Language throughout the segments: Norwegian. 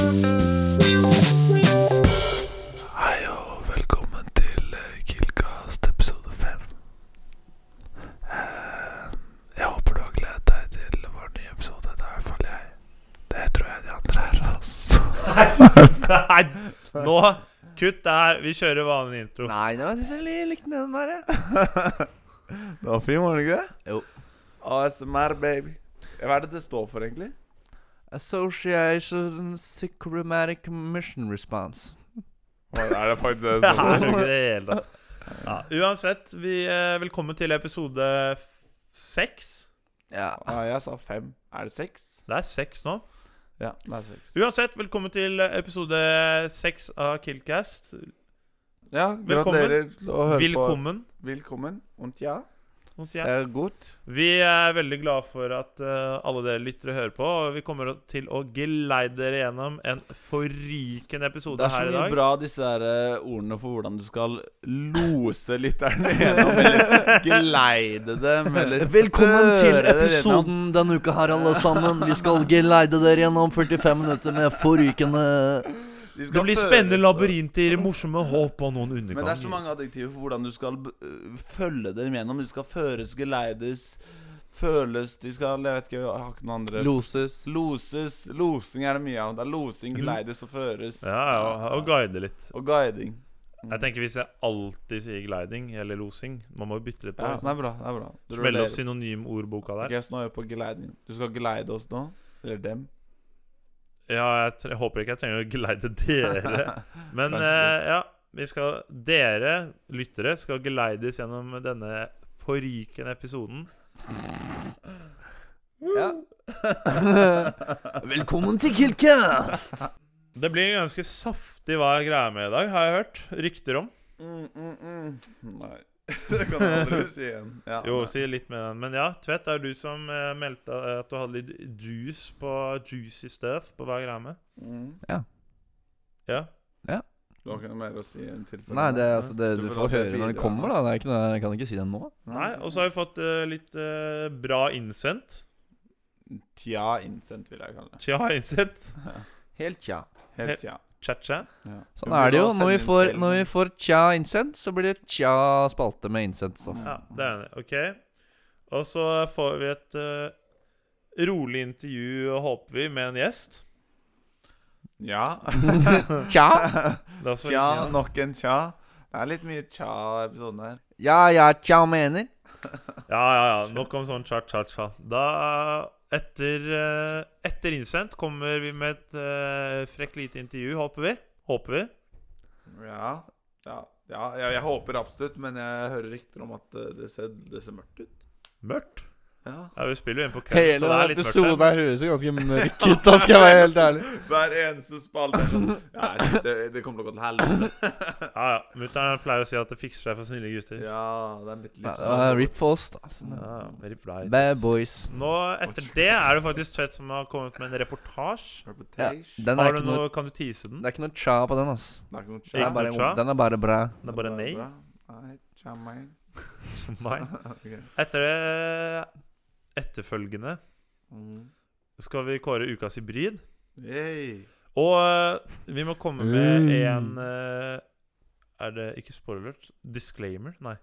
eh, Eh, Nei, nå Kutt det her. Vi kjører vanlig intro. Nei, nei, jeg synes jeg likte den der, jeg. Det var fin, var det ikke det? Jo. ASMR, baby. Hva er det det står for, egentlig? Association Psychomatic Mission Response. Er det faktisk det Det det står er for? jo ikke det i hele tatt. Ja, uansett, vi, eh, velkommen til episode f- seks. Ja. Ja, jeg sa fem. Er det seks? Det er seks nå. Ja, det er seks. Uansett, velkommen til episode seks av Killcast. Ja, gratulerer til å høre Velkommen. på. Velkommen. Und ja, må jeg si. sehr gut. Vi er veldig glad for at eh, alle dere lyttere hører på. Og vi kommer til å geleide dere gjennom en forrykende Det episode er så her i mye dag. bra disse her eh, ordene for hvordan du skal lose lytterne gjennom, eller geleide dem, eller Velkommen til føre det gjennom. episoden denne uka her, alle sammen. Vi skal geleide dere gjennom 45 minutter med forrykende De skal Det blir føre- spennende labyrinter, morsomme håp og noen Men det er så underganger. mange adjektiver for hvordan du skal eh, følge dem gjennom. De skal føres, geleides, føles De skal Jeg vet ikke, jeg har ikke noen andre loses. Loses. Losing er det mye av. Det er losing, geleides og føres. Ja, ja, og guide litt. Og guiding. Mm. Jeg tenker Hvis jeg alltid sier gliding eller losing Man må jo bytte litt på. Ja, det ikke sant? er bra. det er bra Du Smelle opp rullerer. synonymordboka der. Ok, så nå er vi på geleiding. Du skal geleide oss nå? Eller dem? Ja, jeg tre håper ikke jeg trenger å geleide dere. Men Kanskje eh, ja, vi skal, dere lyttere skal geleides gjennom denne forrykende episoden. Ja. Velkommen til Killcast! Det blir en ganske saftig hva jeg greier med i dag, har jeg hørt. Rykter om. Mm, mm, mm. Nei. det kan jeg aldri si igjen. Ja, Jo, nei. si litt med den. Men ja, Tvedt, det er du som eh, meldte at du hadde litt juice på juicy stuff på hva jeg greier med. Mm. Ja. Du har ikke noe mer å si enn tilfelle? Nei, det er altså det Du du får får aldri høre når det bidra. kommer, da. Det er ikke noe, jeg kan ikke si det nå. Nei, og så har vi fått eh, litt eh, bra innsendt. Tja innsendt, vil jeg kalle det. Tja, innsendt. Helt tja. Helt tja. Cha-cha. Ja. Sånn er det jo. Når vi Send inn får, selv. når vi får tja innsendt, så blir det tja spalte med innsendt stoff. Ja, det er enig. Ok. Og så får vi et eh, rolig intervju, håper vi, med en gjest. Ja. Tja? Det er også Tja, litt- nok en tja. Det er litt mye tja i episoden her. Ja, ja, tja mener. ja, ja, ja. Nok om sånn cha-cha-cha. Da, etter, eh, etter innsendt, kommer vi med et uh, frekt lite intervju, håper vi. Håper vi. Ja. Ja, ja jeg, jeg håper absolutt, men jeg hører rykter om at eh, det ser, det ser mørkt ut. Mørkt. Ja. Ja, vi spiller jo inn på kveld, så det er litt mørkt. her. høres jo ganske mørk ut, da skal jeg være helt ærlig. Hver eneste spalte er sånn Ja, shit, det, det kommer til å gå til helvete. Ja, ja. Mutter'n pleier å si at det fikser seg for snille gutter. Ja, det er litt litt Rip Foss, da. Sånn. sånn Ja, rip right. Bad boys. Nå, etter det, er det faktisk Tvedt som har kommet med en reportasje. Ja, Reportage. den er Har du ikke noe, noe, kan du tease den? det er ikke noe tja på den, ass. Det er ikke noe Den tja. er bare, tja? den er bare bra. Det er bare nei. bra. Nei, tja, meg. Nei. Ok. Etter det etterfølgende Mm. skal vi kåre ukas hybrid. Yay. Og eh, vi må komme med Mm. en eh, Er det ikke spoilert? Disclaimer? Nei.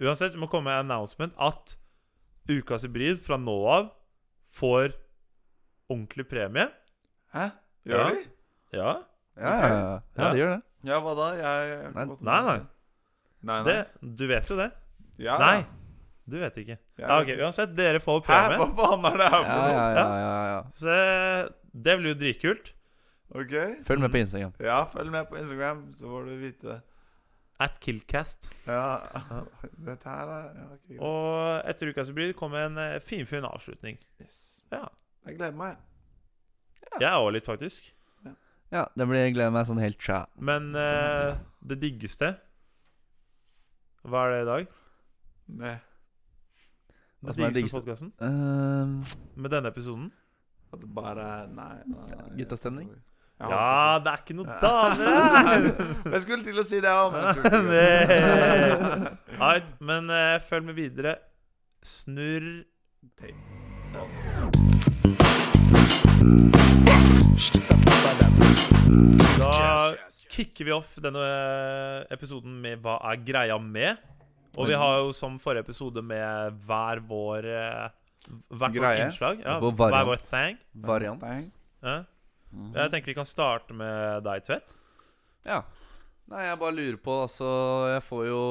Uansett, vi må komme med en announcement at ukas hybrid fra nå av får ordentlig premie. Hæ? Gjør Ja. de? Ja. Ja, ja, ja. ja, det gjør det. Ja, hva da? Jeg, jeg Nei. Nei, nei. Nei, nei. Det, du vet jo det. Ja, Nei, ja. du vet ikke. Jeg Ja, vet ok, ikke. Uansett, dere får Hæ, premie. hva faen er det her Ja, for noe? ja, ja, ja, ja. Så eh, det blir jo dritkult. Ok. Følg med på Instagram. Ja, følg med på Instagram, så får du vite det. At Killcast. Ja. Dette her er ja, ok, greit. Og etter ukas hybrid kommer en eh, finfin avslutning. yes. Ja. Jeg gleder meg. Jeg òg litt, faktisk. Ja, det blir jeg gleder meg sånn helt tja. Men eh, det diggeste Hva er det i dag? Nei. Hva Altså, Det som er det diggeste diggeste? med podkasten? Ehm, Med denne episoden? At det bare Nei. nei Guttastemning? Jeg Ja, det er ikke noe damer her! håper- Jeg skulle til å si det òg, men jeg tror ikke Nei. Alright, men eh, følg med videre. Snurr tape. Da kicker vi off denne eh, episoden med Hva er greia med? Og vi har jo som forrige episode med hver vår eh, Hvert vårt Greie. innslag. Ja, Vår hver variant. vår thing. variant. Dang. Ja. Jeg tenker vi kan starte med deg, Tvedt. Ja. Nei, jeg bare lurer på, altså Jeg får jo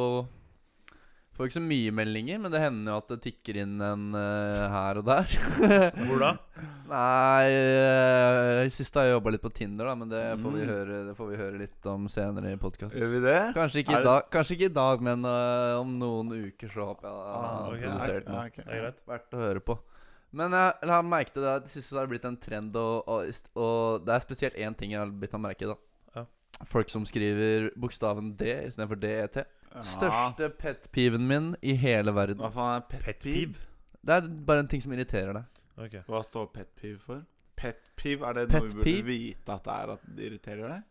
Får ikke så mye meldinger, men det hender jo at det tikker inn en eh, her og der. Hvor da? Nei, eh, sist har jeg jobba litt på Tinder, da, men det får, vi Mm. høre, det får vi høre litt om senere i podkasten. Gjør vi det? Kanskje, ikke i Er det- dag- kanskje ikke i dag, men eh, om noen uker så håper jeg jeg Ah, har Ah, ok. Ah, produsert noe. Det er greit. Verdt å høre på. Men eh, jeg, eller jeg merket det at siste så har det blitt en trend, og, og, og det er spesielt én ting jeg har bitt meg merke i. da Ja. Folk som skriver bokstaven D istedenfor DET. Største pet-piven min i hele verden. Ah. Hva faen er pet, Pet peeve? peeve? Det er bare en ting som irriterer deg. Ok. Hva står pet peeve for? Pet peeve, er det Pet noe vi burde peeve? Vite at det er at det irriterer deg?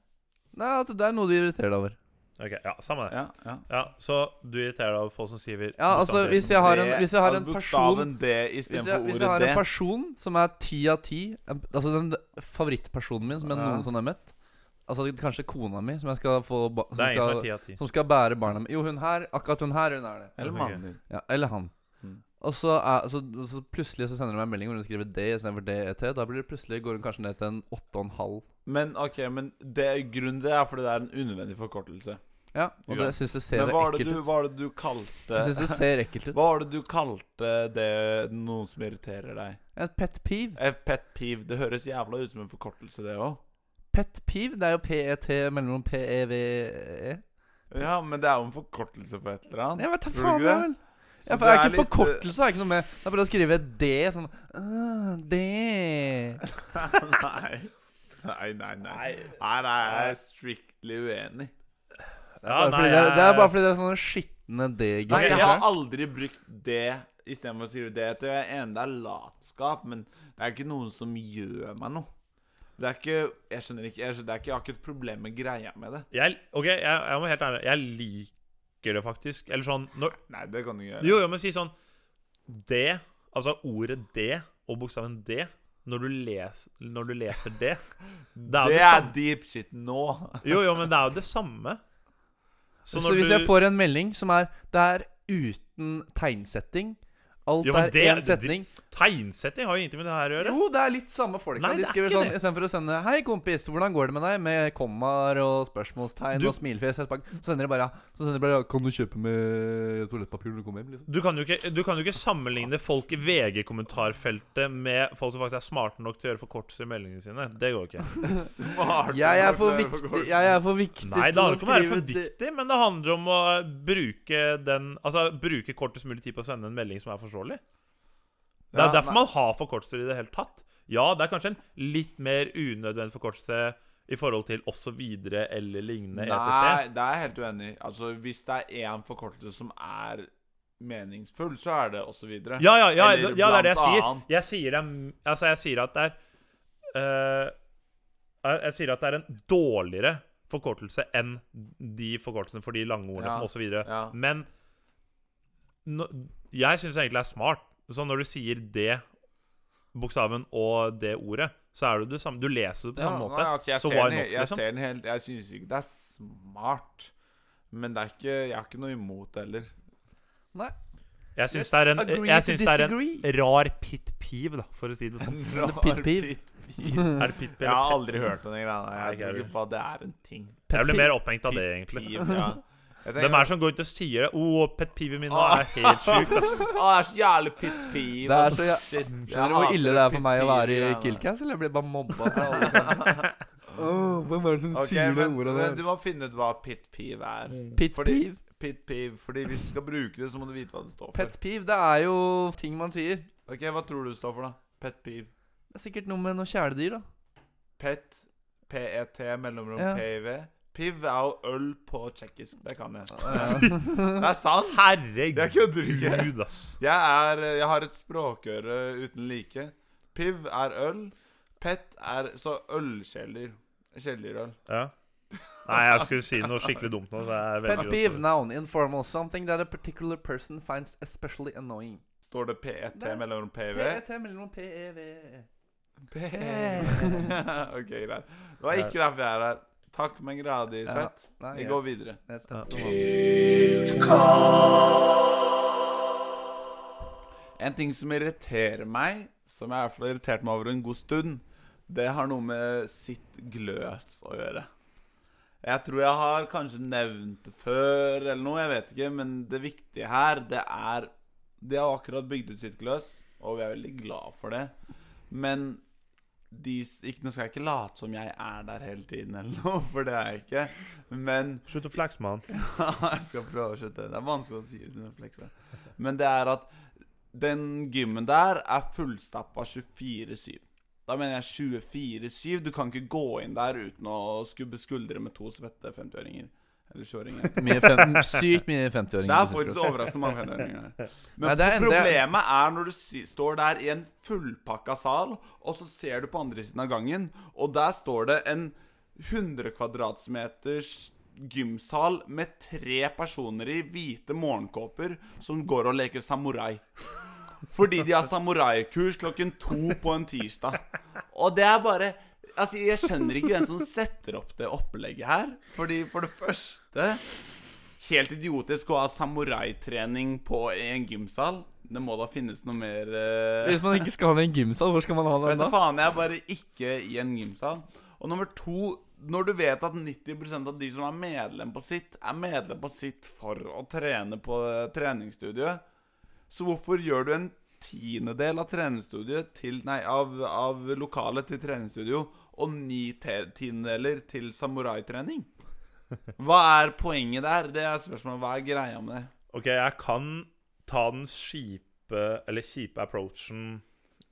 Nei, altså Det er noe du irriterer deg over. ok, Ja, samme det. Ja, ja. Ja, Så du irriterer deg over folk som skriver Ja, altså Hvis jeg har en, Det- hvis jeg har altså, en person Bokstaven D hvis jeg, istedenfor hvis jeg har ordet en D. person som er ti av ti en- Altså den favorittpersonen min som jeg Ja. noensinne har møtt Altså kanskje kona mi, som jeg skal få ba som Det er en som skal, er ti av ti. Som skal bære barna mine. Jo, hun her, akkurat hun her, hun er det. Eller Ok. mannen din. Ja, eller han. Mm. Og så, er, så, så plutselig så sender hun meg en melding hvor hun skriver D istedenfor DET. Da blir det plutselig går hun kanskje ned til en 8,5. Men ok, men det, grunnen til det er fordi det er en unødvendig forkortelse. Ja, og Ja. det syns jeg ser Men hva er det ekkelt du, ut. hva er det du kalte Jeg syns det ser ekkelt ut. Hva var det du kalte det noen som irriterer deg? En pet peeve. Eh, Pet peeve. Det høres jævla ut som en forkortelse, det òg. Pet peeve, det er jo PET mellom E PEVE. Ja, men det er jo en forkortelse for et eller annet. Jeg vet da Tror du faen, jeg ikke det? vel. Så Ja, for det er ikke litt, eh, forkortelse, er ikke noe med. Det er bare å skrive D sånn ah, D. nei. nei, nei, nei. Nei. Her er jeg strictly uenig. Ja, Bare nei, fordi det, er- det er jeg- bare fordi det er sånne skitne Nei, D-greier. jeg har aldri brukt det istedenfor å skrive det. Jeg er enig det er latskap, men det er ikke noen som gjør meg noe. Det er ikke Jeg skjønner ikke Jeg, skjønner, det er ikke, jeg har ikke et problem med greia med det. Jeg, ok, jeg, jeg må være helt ærlig. Jeg liker det faktisk. Eller sånn når, Nei, det kan du ikke gjøre. Jo, jo, men si sånn Det, altså ordet det og bokstaven D Når du, les, når du leser det Det er jo det det, er samme. deep shit nå. Jo, jo, men det er jo det samme. Så, når hvis du- jeg får en melding som er Det er uten tegnsetting Alt Jo, men er det- én det- setning Tegnsetting har jo ingenting med det her å gjøre. Jo, det er litt samme folka Nei, De det er skriver ikke sånn det. Istedenfor å sende 'Hei, kompis, hvordan går det med deg?' Med kommaer og spørsmålstegn Du- og smilefjes etterpå. Så sender de bare Så sender de bare 'Kan du kjøpe med toalettpapir når du kommer hjem?' liksom Du kan, jo ikke, du kan jo ikke sammenligne folk i VG-kommentarfeltet med folk som faktisk er smarte nok til å gjøre forkortelser i meldingene sine. Det går ikke. Smart. Jeg er for viktig Jeg er for viktig Nei, det til handler ikke om å være for skrive det. viktig, men det handler om å bruke den Altså bruke kortest mulig tid på å sende en melding som er forståelig. Det er Ja, derfor man har forkortelser i det hele tatt. Ja, det er kanskje en litt mer unødvendig forkortelse i forhold til osv. eller lignende Nei, ETC. det er jeg helt uenig i. Altså, hvis det er én forkortelse som er meningsfull, så er det osv. Ja, ja, ja, ja, Eller det er det jeg blant sier. annet. Jeg sier, det, er- altså, jeg sier at det er øh, jeg, jeg sier at det er en dårligere forkortelse enn de forkortelsene for de lange ordene Ja, som osv. videre ja. Men nå- jeg syns egentlig det er smart. Så når du sier det bokstaven og det ordet, så er det det samme. Du leser det på samme måte. Nei, altså, jeg, så ser why den, not, he- jeg liksom? ser den helt Jeg syns ikke det er smart. Men det er ikke, jeg har ikke noe imot det heller. Nei Jeg syns Let's det er en, agree jeg to syns det er en disagree. rar pit peeve, da, for å si det sånn. Pit peeve. Er det pit Jeg peeve? har eller aldri hørt om den greia. der. Nei, Jeg tror ikke ikke hva det er en ting. pet- Jeg ble peeve. mer opphengt av det, egentlig. Peeve, ja. Jeg tenker, Hvem er det som går ut og sier det? Å, pet peeve min Ah. nå er helt sjukt. ass. Å, det er så jævlig pit peeve. Det er altså, så jæ- shit. Jeg Skjønner du hvor hater ille det er for meg å pit være i peeve-greiene. Killcast? Eller jeg blir bare mobba fra alle kanter? Åh, Hvem er det som Ok, sier det men, ordet men der? Mm. du må finne ut hva pit peeve er. Pit Fordi- peeve. Pit peeve. Fordi hvis du skal bruke det, så må du vite hva det står for. Pet peeve, det er jo ting man sier. Ok, Hva tror du det står for, da? Pet peeve. Det er sikkert noe med noe kjæledyr, da. Pet. PET, mellomrom Ja. PIV. Piv er jo øl på tsjekkisk. Det kan jeg. Ja. Det er sant! Jeg kødder ikke. Herregud, ass. Jeg, er, jeg har et språkøre uten like. Piv er øl. Pet er så ølkjeller. Kjellerøl. Ja. Nei, jeg skulle si noe skikkelig dumt nå. Så jeg Pet velger å peeve, stå- noun, informal, something that a particular person finds especially annoying. Står det PET Nei. mellomrom PIV? PET E mellom PEVE. E ok, greit. Det var ikke derfor jeg er her. Takk, men gradig Ja. tvett. Nei, Vi greit. går videre. Jeg stemte som En ting som irriterer meg, som jeg i hvert fall har irritert meg over en god stund, Det har noe med sitt gløs å gjøre. Jeg tror jeg har kanskje nevnt det før eller noe, jeg vet ikke. Men det viktige her, det er De har akkurat bygd ut sitt gløs, og vi er veldig glad for det. Men de, s- ikke, nå skal jeg ikke late som jeg er der hele tiden eller noe, for det er jeg ikke. Men Slutt å flakse, mann. jeg skal prøve å slutte. Det er vanskelig å si uten å flekse. Men det er at den gymmen der er fullstappa 24-7. Da mener jeg 24-7. Du kan ikke gå inn der uten å skubbe skuldre med to svette 50-åringer. Eller 20-åringer. Mye fem, sykt mye Det er 50-åringer. på sitt faktisk glass. overraskende mange 50-åringer Nei, der. Men det er en- det er- problemet er når du si, står der i en fullpakka sal, og så ser du på andre siden av gangen, og der står det en 100 kvadratmeters gymsal med tre personer i hvite morgenkåper som går og leker samurai. Fordi de har samuraikurs klokken to på en tirsdag. Og det er bare Altså, jeg skjønner ikke hvem som setter opp det opplegget her. Fordi for det første Helt idiotisk å ha samuraitrening på en gymsal. Det må da finnes noe mer eh, Hvis man ikke skal ha den i en gymsal, hvor skal man ha jeg den vet da da? faen, jeg er bare ikke i en gymsal. Og nummer to Når du vet at 90 av de som er medlem på sitt, er medlem på sitt for å trene på eh, treningsstudio, så hvorfor gjør du en tiendedel av treningsstudiet til Nei, av, av lokalet til treningsstudio og ni te- tiendedeler til samuraitrening? Hva er poenget der? Det er spørsmålet. Hva er greia med det? OK, jeg kan ta den kjipe Eller kjipe approachen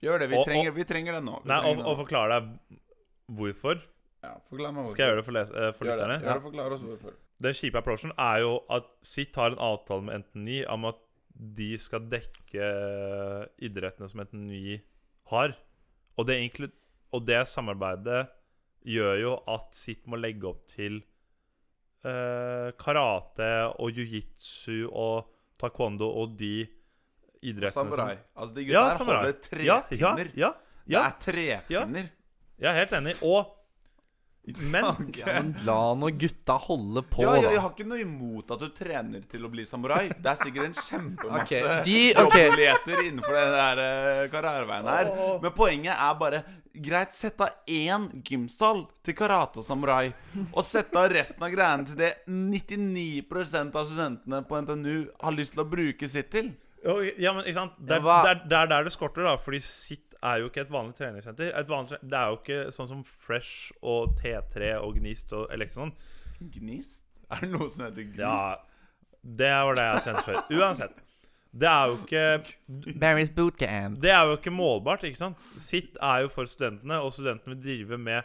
Gjør det. Vi Og- og- trenger, vi trenger det nå. Vi Nei, og, trenger og det nå. forklare deg hvorfor. Ja, forklar meg hvorfor. Skal jeg gjøre det for, les eh, for Gjør det. lytterne? Gjør det, forklar oss hvorfor. Den kjipe approachen er jo at Sitt har en avtale med NTNY om at de skal dekke eh, idrettene som NTNY har. Og det, inklu- og det samarbeidet gjør jo at Sitt må legge opp til eh, karate og jiu-jitsu og taekwondo og de idrettene Samurai. Altså, de som gutta Ja, her samurai. holder Ja, ja, trepinner. ja, ja, Det er trepinner. jeg er helt enig. Og Men Okay. Men la nå gutta holde på, Ja, da. ja, jeg har ikke noe imot at du trener til å bli samurai. Det er sikkert en Ok, kjempemasse de- ok. muligheter innenfor den der eh, karriereveien her. Men poenget er bare Greit, sett av én gymsal til karate og samurai. Og sett av resten av greiene til det 99 av studentene på NTNU har lyst til å bruke sitt til. Jo, Ja, men ikke sant Det er Ja, hva- det er- det er der det skorter, da. Fordi sitt er jo ikke et vanlig treningssenter. Et vanlig, tre- det er jo ikke sånn som Fresh og T3 og Gnist og Elektron. Gnist? Er det noe som heter gnist? Ja, det var det jeg trente før. Uansett. Det er jo ikke Barry's bootcamp. Det er jo ikke målbart, ikke sant? Sitt er jo for studentene, og studentene vil drive med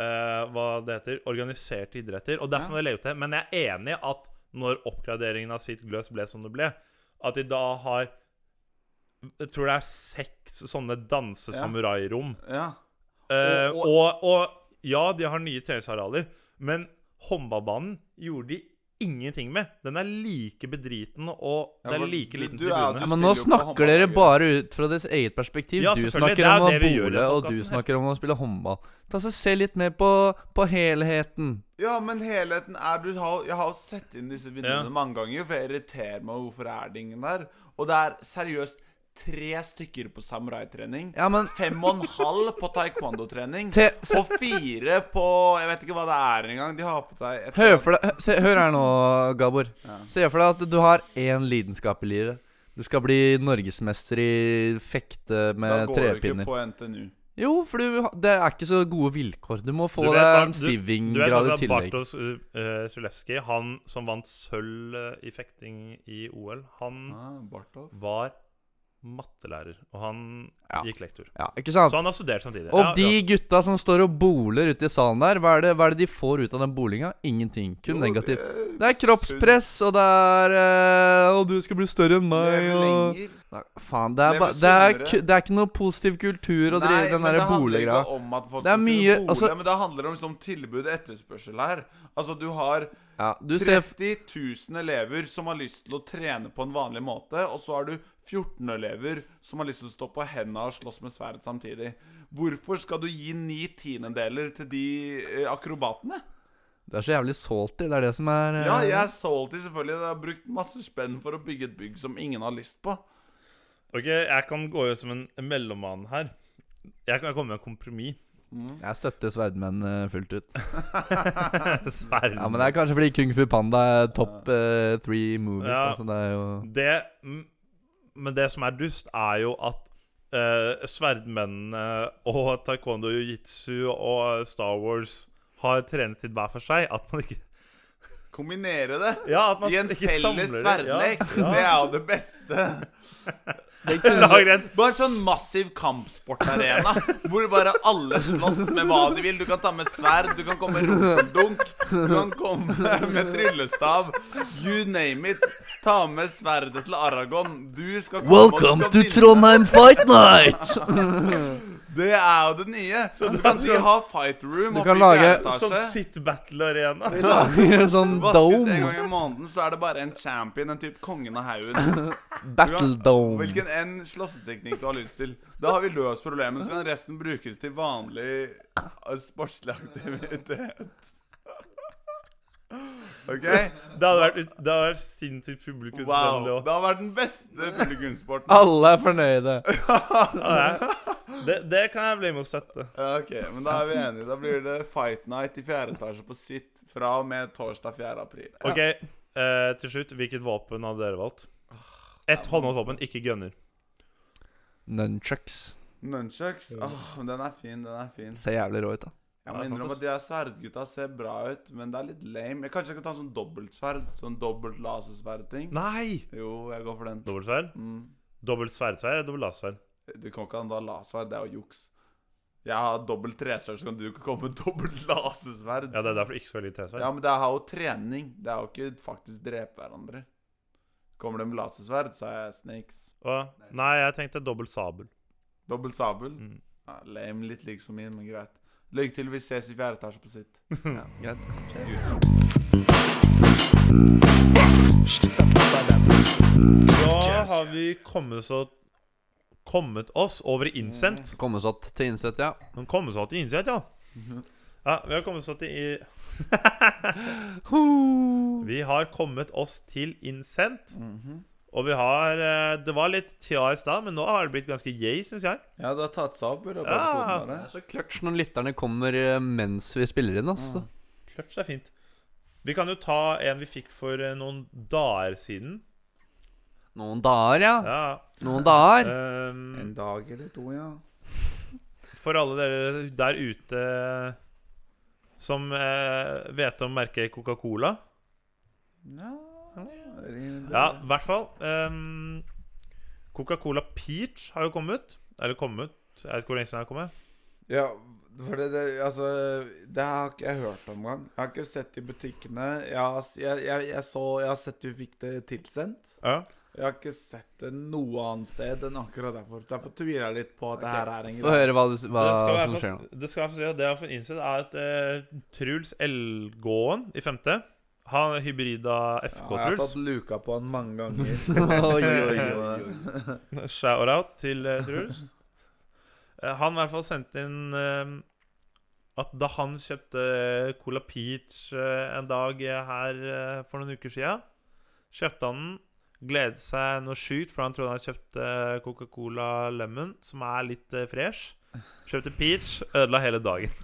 eh, hva det heter, organiserte idretter. Og derfor må det legge opp til. Men jeg er enig i at når oppgraderingen av sitt gløs ble som det ble, at de da har Jeg tror det er seks sånne danse-samurai-rom. Ja. Eh, Og- og, og ja, de har nye treningsarealer, men håndballbanen gjorde de ingenting med. Den er like bedriten, og Ja, det for er like du- liten du er- tribune. Ja, du men nå spiller jo på snakker dere håndballaget. bare ut fra deres eget perspektiv. Ja, du selvfølgelig, snakker det er om å det vi gjør i bole, og podcasten du her. snakker om å spille håndball. Ta så Se litt mer på, på helheten. Ja, men helheten er du har, Jeg har jo sett inn disse vinduene Ja. mange ganger, for jeg irriterer meg hvorfor er det ingen der. Og det er seriøst tre stykker på samuraitrening. Ja, men Fem og en halv på taekwondo-trening. te, se, Og fire på Jeg vet ikke hva det er engang. De har på seg et hør, for deg, hø- se, hør her nå, Gabor. Ja. Se for deg at du har én lidenskap i livet. Du skal bli norgesmester i fekte Da med går du ikke trepinner. på NTNU. Jo, for du, ha- det er ikke så gode vilkår. Du må få Du vet deg Bar- en du- Du vet sivinggrad altså Mm. i at tillegg. Bartos uh, Zulewski, han som vant sølv eh, i fekting i OL, han Ah, Bartov. var mattelærer, og han Ja. gikk lektor. Ja, ikke sant? Så han har studert samtidig. Og Ja, de ja. gutta som står og boler ute i salen der, hva er det, hva er det de får ut av den bolinga? Ingenting. Kun negativt. Det er kroppspress, og det er eh, Og du skal bli større enn meg, og Lenger. Nei, Faen, det er, Leve ba, det, er, sunnere. ku- det er ikke noe positiv kultur å drive den men derre det handler ikke bolegreia. om at folk Det er skal kunne mye- bole, altså- Men det handler om liksom, tilbud og etterspørsel her. Altså, du har Ja, du ser 30 000 elever som har lyst til å trene på en vanlig måte, og så har du 14 elever som har lyst til å stå på hendene og slåss med sverd samtidig. Hvorfor skal du gi ni tiendedeler til de eh, akrobatene? Det er så jævlig salty, det er det som er eh, Ja, jeg er salty, selvfølgelig. Jeg har brukt masse spenn for å bygge et bygg som ingen har lyst på. Ok, jeg kan gå ut som en mellommann her. Jeg kan jeg kommer med en kompromiss. Mm. Jeg støtter sverdmenn eh, fullt ut. Sverd. Ja, Men det er kanskje fordi Kung Fu Panda er topp eh, three movies. Ja. da, Så det er jo Det mm, Men det som er dust, er jo at eh, sverdmennene og taekwondo jiu-jitsu og Star Wars har treningstid hver for seg. At man ikke Kombinere det Ja, at man i en ikke felles samler det. sverdlek. Ja, Det ja. er jo det beste. Det Lager en Bare sånn massiv kampsportarena hvor bare alle slåss med hva de vil. Du kan ta med sverd, du kan komme med rumpeldunk, du kan komme med tryllestav. You name it. Ta med sverdet til Aragon. Du skal komme Welcome og du to skal Trondheim vinne. Fight Night! Det er jo det nye. Så du kan de ha fight room Du oppe kan i lage fjerde sånn etasje. sit battle-arena. Lager en sånn Vaskes en dome. gang i måneden, så er det bare en champion, en type kongen av haugen. Battle dome. Hvilken enn slåsseteknikk du har lyst til. Da har vi løst problemet, så kan resten brukes til vanlig eh, sportslig aktivitet. OK? Det hadde vært, ut- det hadde vært sinnssykt Wow. publikumsvennlig òg. Det har vært den beste publikumssporten. Ah. Alle er fornøyde. Det, det kan jeg bli med og støtte. Ja, OK, men da er vi enige. Da blir det Fight Night i fjerde etasje på sitt fra og med torsdag 4. april. Ok, eh, til slutt. Hvilket våpen hadde dere valgt? Ett håndholdt våpen, ikke gunner. Nunchucks. Nunchucks. Åh, men den er fin, den er fin. Ser jævlig rå ut, da. Jeg Ja, må sant, innrømme ass. at de her sverdgutta ser bra ut, men det er litt lame. Jeg kanskje jeg kan ta en sånn dobbeltsverd? Sånn dobbelt lasersverd-ting? Nei! Jo, jeg går for den. Dobbeltsverd? Mm. Dobbelt sverdsverd eller dobbelt lasersverd? Du kan ikke ha lasersverd, det er jo juks. Jeg har dobbelt tresverd, så kan du ikke komme med dobbelt lasersverd. Ja, det er derfor det ikke skal velge tesverd. Ja, men det er jo trening. Det er jo ikke faktisk drepe hverandre. Kommer det med lasersverd, så er jeg snakes. Hva? Nei, jeg tenkte dobbelt sabel. Dobbelt sabel. Mm. Ja, lame, litt lik som min, men greit. Lykke til, vi ses i fjerde etasje på sitt. Ja, greit. Da altså. har vi kommet, så, kommet oss over i innsendt. Komme oss opp til innsett, ja. Men kommet oss til innsendt, ja. Ja, vi har kommet oss til i... Vi har kommet oss til innsendt. Og vi har eh, Det var litt tja i stad, men nå har det blitt ganske yay, syns jeg. Ja, det har tatt seg opp i løpet av Ja. episoden. her, Det er så kløtsj når lytterne kommer eh, mens vi spiller inn, altså. Clutch er fint. Vi kan jo ta en vi fikk for eh, noen dager siden. Noen dager, ja. Ja. Noen dager. ehm, En dag eller to, ja. For alle dere der ute som eh, vet om merket Coca-Cola Ja, Ja, i hvert fall. ehm, Coca-Cola Peach har jo kommet. Eller kommet Jeg vet ikke hvor lenge siden den har kommet. ja for det, det, altså, det har ikke jeg hørt om engang. Jeg har ikke sett i butikkene. Jeg har, s- jeg, jeg, jeg, så, jeg har sett du fikk det tilsendt. Ja. Jeg har ikke sett det noe annet sted enn akkurat derfor. Derfor tviler jeg litt på at det her er en Få greie. høre hva, du, s- hva det skal som være skjer nå. for, det skal være for å si at det jeg har fått innsett, er at eh, Truls Elgåen i femte Han er hybrida Ja, jeg har FK-Truls. tatt luka på han mange ganger. Oi, oi, Shout-out til eh, Truls. Eh, han i hvert fall sendte inn eh, at da han kjøpte eh, Cola Peach eh, en dag eh, her eh, for noen uker sia, kjøpte han den, gledet seg noe sjukt, for han trodde han kjøpte Coca-Cola Lemon, som er litt eh, fresh. Kjøpte Peach, ødela hele dagen.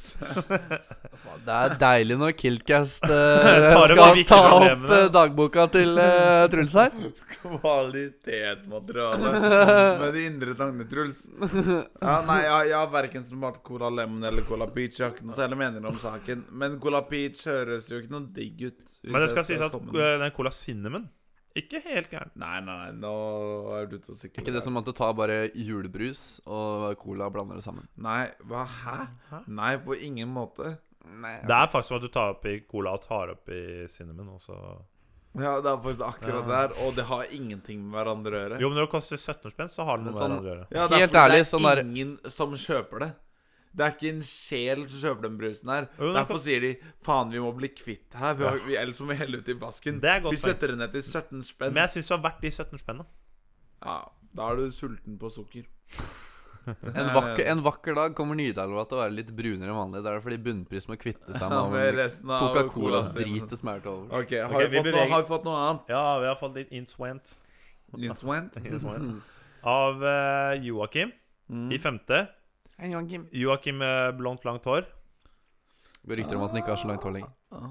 Det er deilig når Killcast eh, opp de skal viktige ta opp problemene. eh, dagboka til eh, Truls her. Kvalitetsmateriale med de indre tankene, Truls. Ja, nei, jeg, jeg har verken smakt Cola Lemon eller Cola Peach. Jeg har ikke noe særlig meninger om saken. Men Cola Peach høres jo ikke noe digg ut. hvis Men det jeg skal sies at komme med- eh, den Cola Cinnamon ikke helt gæren. Nei, nei, nei, nå er du ute og sykler. Ikke det som at du tar bare julebrus og cola og blander det sammen. Nei, hva? Hæ? Hæ? Nei, på ingen måte. Det er faktisk som at du tar oppi cola og tar oppi cinnamon. Og så Ja, det er faktisk akkurat Ja. der, og det har ingenting med hverandre å gjøre. Jo, men når det koster 17 spenn, så har det noe med Sånn- hverandre å gjøre. Ja, Helt derfor ærlig, det er sånn der- ingen som kjøper det. Det er ikke en sjel som kjøper den brusen her. Jo, men- Derfor sier de faen, vi må bli kvitt det her, vi har, vi, ellers må vi helle ut i vasken. Det er godt Vi setter det ned til 17 spenn. Men jeg syns det var verdt de 17 spennene. Ja, da er du sulten på sukker. En vakker, en vakker dag kommer Nidelva til å være litt brunere enn vanlig. Det er fordi bunnpris må kvitte seg Ja, med med all resten av Coca-Cola-dritet som er til over. Ok, har, Ok, vi vi fått noe, beveger- har vi fått noe annet? Ja, vi har fått litt innswent Linswent? Mm. Mm. innswent. av eh, Joakim i femte. Hei, Joakim. Joakim med blondt, langt hår. Det går rykter om at han ikke har så langt hår lenger.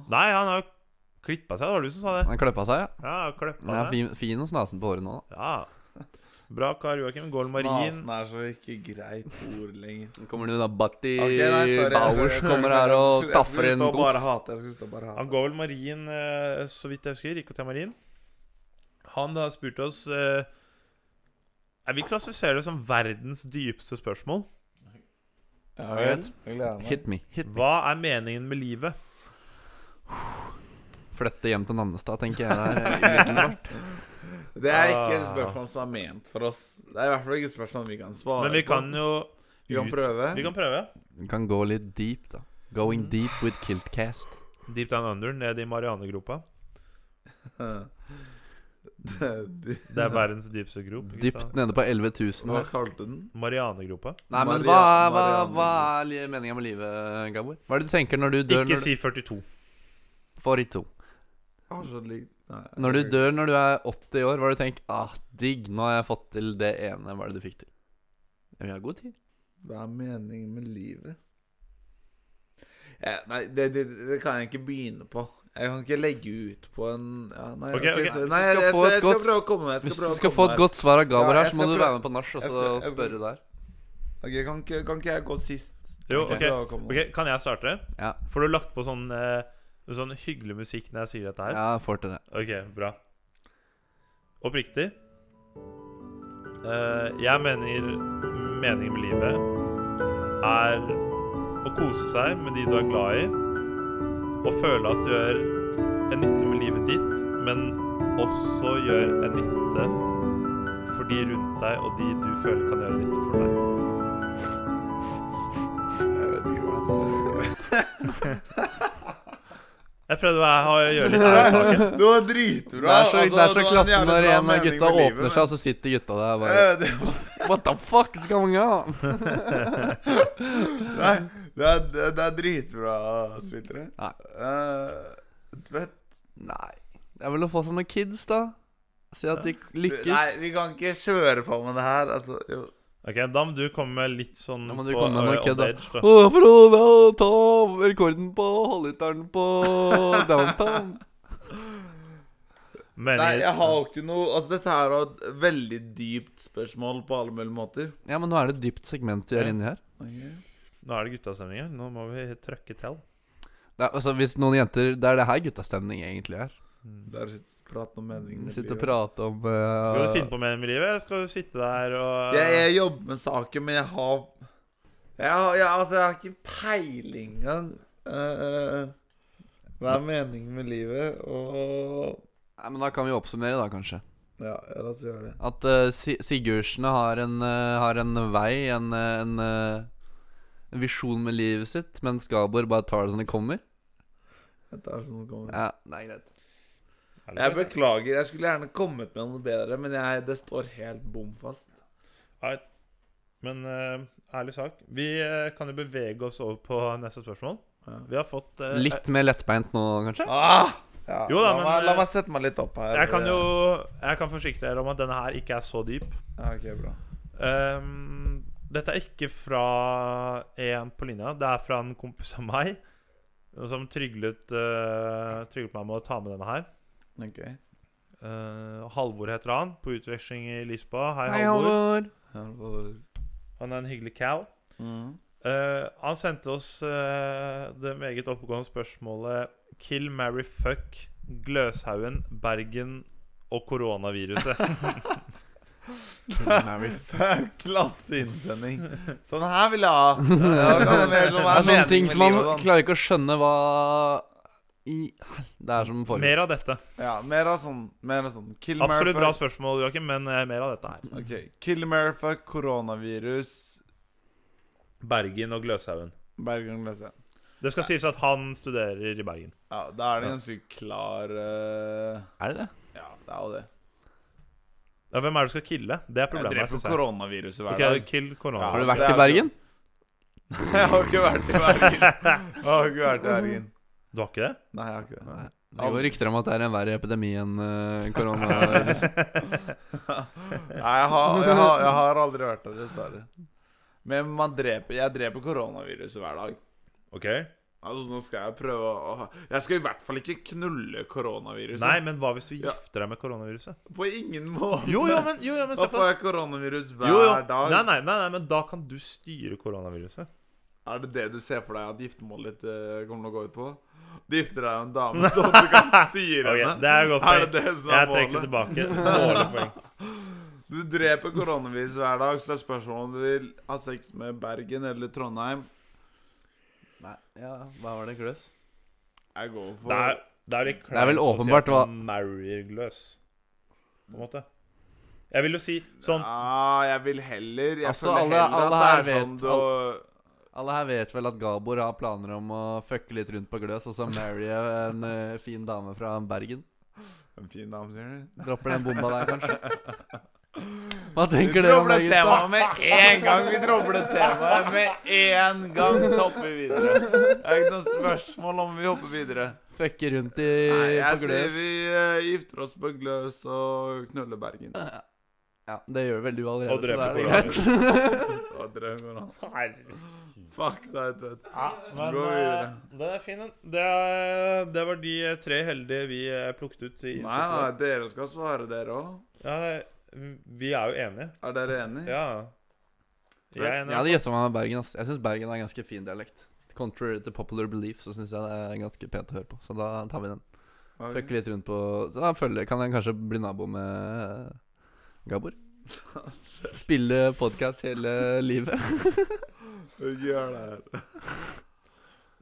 Nei, han har jo klippa seg. Det var du som sa det. Han kløppa seg, ja. Ja, han har klippet Han er seg. fin, fin og snasen på håret nå. da. Ja. Bra kar, Joakim. Gård Marin. Snasen er så ikke greit ord lenger. Nå Kommer du da Batti Ok, nei, sorry, jeg- Bowers jeg- jeg- kommer jeg- her og jeg- jeg- taffer Jeg inn skulle stå og boff. bare hate. Jeg skulle stå og bare hate. Han går vel marin, eh, så vidt jeg husker. IKT Marin. Han har spurt oss eh, Jeg vil klassifisere det som verdens dypeste spørsmål. Ja, vel. Jeg gleder meg. Hit me. Hit. Hva er meningen med livet? Flytte hjem til Nannestad, tenker jeg. Der, umiddelbart. Det er ikke et Ah. spørsmål som er ment for oss. Det er i hvert fall ikke et spørsmål vi kan svare Men vi kan på. jo Vi kan ut- prøve. Vi kan prøve. Vi kan gå litt deep, da. Going deep with Kiltcast. Deep down under, ned i Marianegropa. De- Det er verdens dypeste grop. ikke sant? Dypt nede på 11 000 Hva år. kalte du den? Marianegropa. Nei, men hva, Maria- hva, Marianne. hva er li- meningen med livet, Gabor? Hva er det du tenker når du dør Ikke når du si 42. får i to? Å, så lik- Nei, Når du jeg- dør når du er 80 år, hva er det du tenker Ah, digg, nå har jeg fått til det ene. Hva er det du fikk til? Ja, Vi har god tid. Hva er meningen med livet? Ja, nei, det, det, det kan jeg ikke begynne på. Jeg kan ikke legge ut på en ja, Nei, Ok, ok, ok. så, nei Hvis jeg, du skal få jeg, skal, et jeg skal godt- prøve å komme meg. jeg Hvis du prøve å skal komme få et meg. godt svar av Gabor Ja, her, jeg så må skal du prøve- være med på nach og jeg så skal- jeg skal- spørre der. Ok, kan, ikke, kan ikke jeg gå sist? Jo, Kan ikke ok. jeg prøve å komme Ok, meg? Kan jeg starte? Ja. Får du lagt på sånn, eh, sånn hyggelig musikk når jeg sier dette her? Ja, jeg får til det. Ok, bra. Oppriktig. Eh, jeg mener meningen med livet er å kose seg med de du er glad i, og føle at du gjør en nytte med livet ditt, men også gjør en nytte for de rundt deg og de du føler kan gjøre nytte for deg. Jeg vet ikke hva som er Jeg prøvde å ha- å gjøre litt ære i saken. Det var dritbra. Det er så, altså, det er så var en klasse jævlig når bra en av mening gutta med livet, åpner seg, og så sitter gutta der men- bare Eh, det var- What the fuck is going on? Nei, det er, det er- det er dritbra, spillere. Nei. Eh, du vet Nei. Det er vel å få seg noen kids, da. Se at de lykkes. Nei, vi kan ikke kjøre på med det her. Altså, jo. Ok, Da må du komme med litt sånn Da må du på, komme med ø, noe old kødd, da. age, da. Å, for å da, ta rekorden på halvliteren på downtown. Nei, Meningen, jeg har jo ikke noe Altså, dette her var et veldig dypt spørsmål på alle mulige måter. Ja, men nå er det et dypt segment vi er Ja. inne i her. Nå er det guttastemning her. Nå må vi trøkke til. Det er, altså, hvis noen jenter Det er det her guttastemning egentlig er. Der sitter prat om Mm, meningen. med Sitte og livet. prate om eh, Skal du finne på meningen med livet, eller skal du sitte der og Jeg, jeg jobber med saken, men jeg har jeg, har- jeg, altså, jeg har ikke peiling engang. Eh, eh, hva er meningen med livet? Og Nei, men da kan vi oppsummere, da, kanskje. Ja, la oss gjøre det. At eh, Si- Sigurdsene har en, eh, har en vei, en, eh, en, eh, en visjon med livet sitt, mens Gabor bare tar det som det kommer. Dette er sånn som kommer. Ja, det er greit. Er Jeg det ikke? beklager. Jeg skulle gjerne kommet med noe bedre, men jeg, det står helt bom fast. Alright. Men ø, ærlig sak Vi ø, kan jo bevege oss over på neste spørsmål. Ja. Vi har fått eh, ø, Litt mer lettbeint nå, kanskje? Ah! Ja, Jo da, la, men, meg, la eh, meg sette meg litt opp her. jeg, jeg kan jo Jeg kan forsikre dere om at denne her ikke er så dyp. Ja, ok, bra. Ehm, dette er ikke fra en på linja. Det er fra en kompis av meg som tryglet, ø, tryglet meg med å ta med denne her. Ok. Eh, Halvor heter han, på utveksling i Lisboa. Hei, Hei, Halvor. Halvor. Her var- Han er en hyggelig cal. Mm. Eh, han sendte oss eh, det meget oppegående spørsmålet Kill, marry, fuck Gløshaugen, Bergen og koronaviruset. Klasseinnsending. Sånn her vil jeg ha. Det sånn- Det er sånne ting som man klarer ikke å skjønne hva i hel- Det er som forrige. mer av dette. Ja, mer av sånn. Mer av sånn. Kill Mary Absolutt bra fuck. spørsmål, Joakim, men eh, mer av dette her. Ok, Kill Mary fuck, koronavirus, Bergen og Gløshaugen. Bergen Glese. Det skal sies at han studerer i Bergen. Ja, da er det en sykt klar eh, Er det det? Ja, det er jo det. Ja, hvem er det du skal kille? Det er Jeg problemet. her, dreper synes jeg. koronaviruset hver Ok, dag. kill Ja, Har du koronaviruset. vært i det er det jo. Bergen? Jeg har ikke vært i Bergen. Jeg har ikke vært i Bergen. Du har ikke det? Nei, jeg har ikke det. Det går rykter om at det er en verre epidemi enn eh, korona. Nei, jeg har, jeg har, jeg har aldri vært der, dessverre. Men man dreper, jeg dreper koronaviruset hver dag. Ok? Altså, nå skal jeg prøve å Jeg skal i hvert fall ikke knulle koronaviruset. Nei, men hva hvis du Ja. gifter deg med koronaviruset? På ingen måte. Jo, jo, men, jo, jo, men da se på får jeg koronavirus hver jo, jo. dag. Nei, nei, nei, nei, men da kan du styre koronaviruset. Er det det du ser for deg at giftermålet ditt eh, kommer til å gå ut på? Du gifter deg med en dame sånn at du kan styre Ok, henne. det er et godt Er poeng. det det som er Jeg trekker det målet? tilbake. Dårlig poeng. Du dreper koronavirus hver dag, så det er spørsmålet om du vil ha sex med Bergen eller Trondheim. Nei, ja, hva var det, Gløs? Jeg går for Det er, det er, litt Det er vel kleint å si åpenbart at hva- man marrier gløs, på en måte. Jeg vil jo si sånn Ja, jeg vil heller Jeg Altså, føler alle- heller alle her at det er vet- sånn du Alle her vet vel at Gabor har planer om å fucke litt rundt på Gløs, og så marry en eh, fin dame fra Bergen. En fin dame, sier du? Dropper den bomba der, kanskje. Hva tenker Vi dere om dropper det, det gutta? temaet med en gang! Vi dropper det temaet med en gang, så hopper vi videre. Det er ikke noe spørsmål om vi hopper videre. Fucke rundt i, Nei, jeg på sier Gløs? vi eh, gifter oss på Gløs og knuller Bergen. Ja, det gjør vel du allerede, Og så da dreper er det greit. koronaviruset. Da drev vi med det. Herregud. Fuck deg, Tvedt. Ja, men Gå eh, videre. den er fin, den. Det, er- det var de tre heldige vi eh, plukket ut. I Nei, nei, dere skal svare, dere òg. Ja, nei, vi er jo enige. Er dere enige? Ja. Jeg er Jeg enig. hadde gjetta meg med Bergen. ass Jeg syns Bergen har en ganske fin dialekt. Contrary to popular belief, så syns jeg det er ganske pent å høre på. Så da tar vi den. Ok. Fucker litt rundt på Så da følger, kan jeg kanskje bli nabo med Gabor. Spille podkast hele livet. Ikke gjør det her.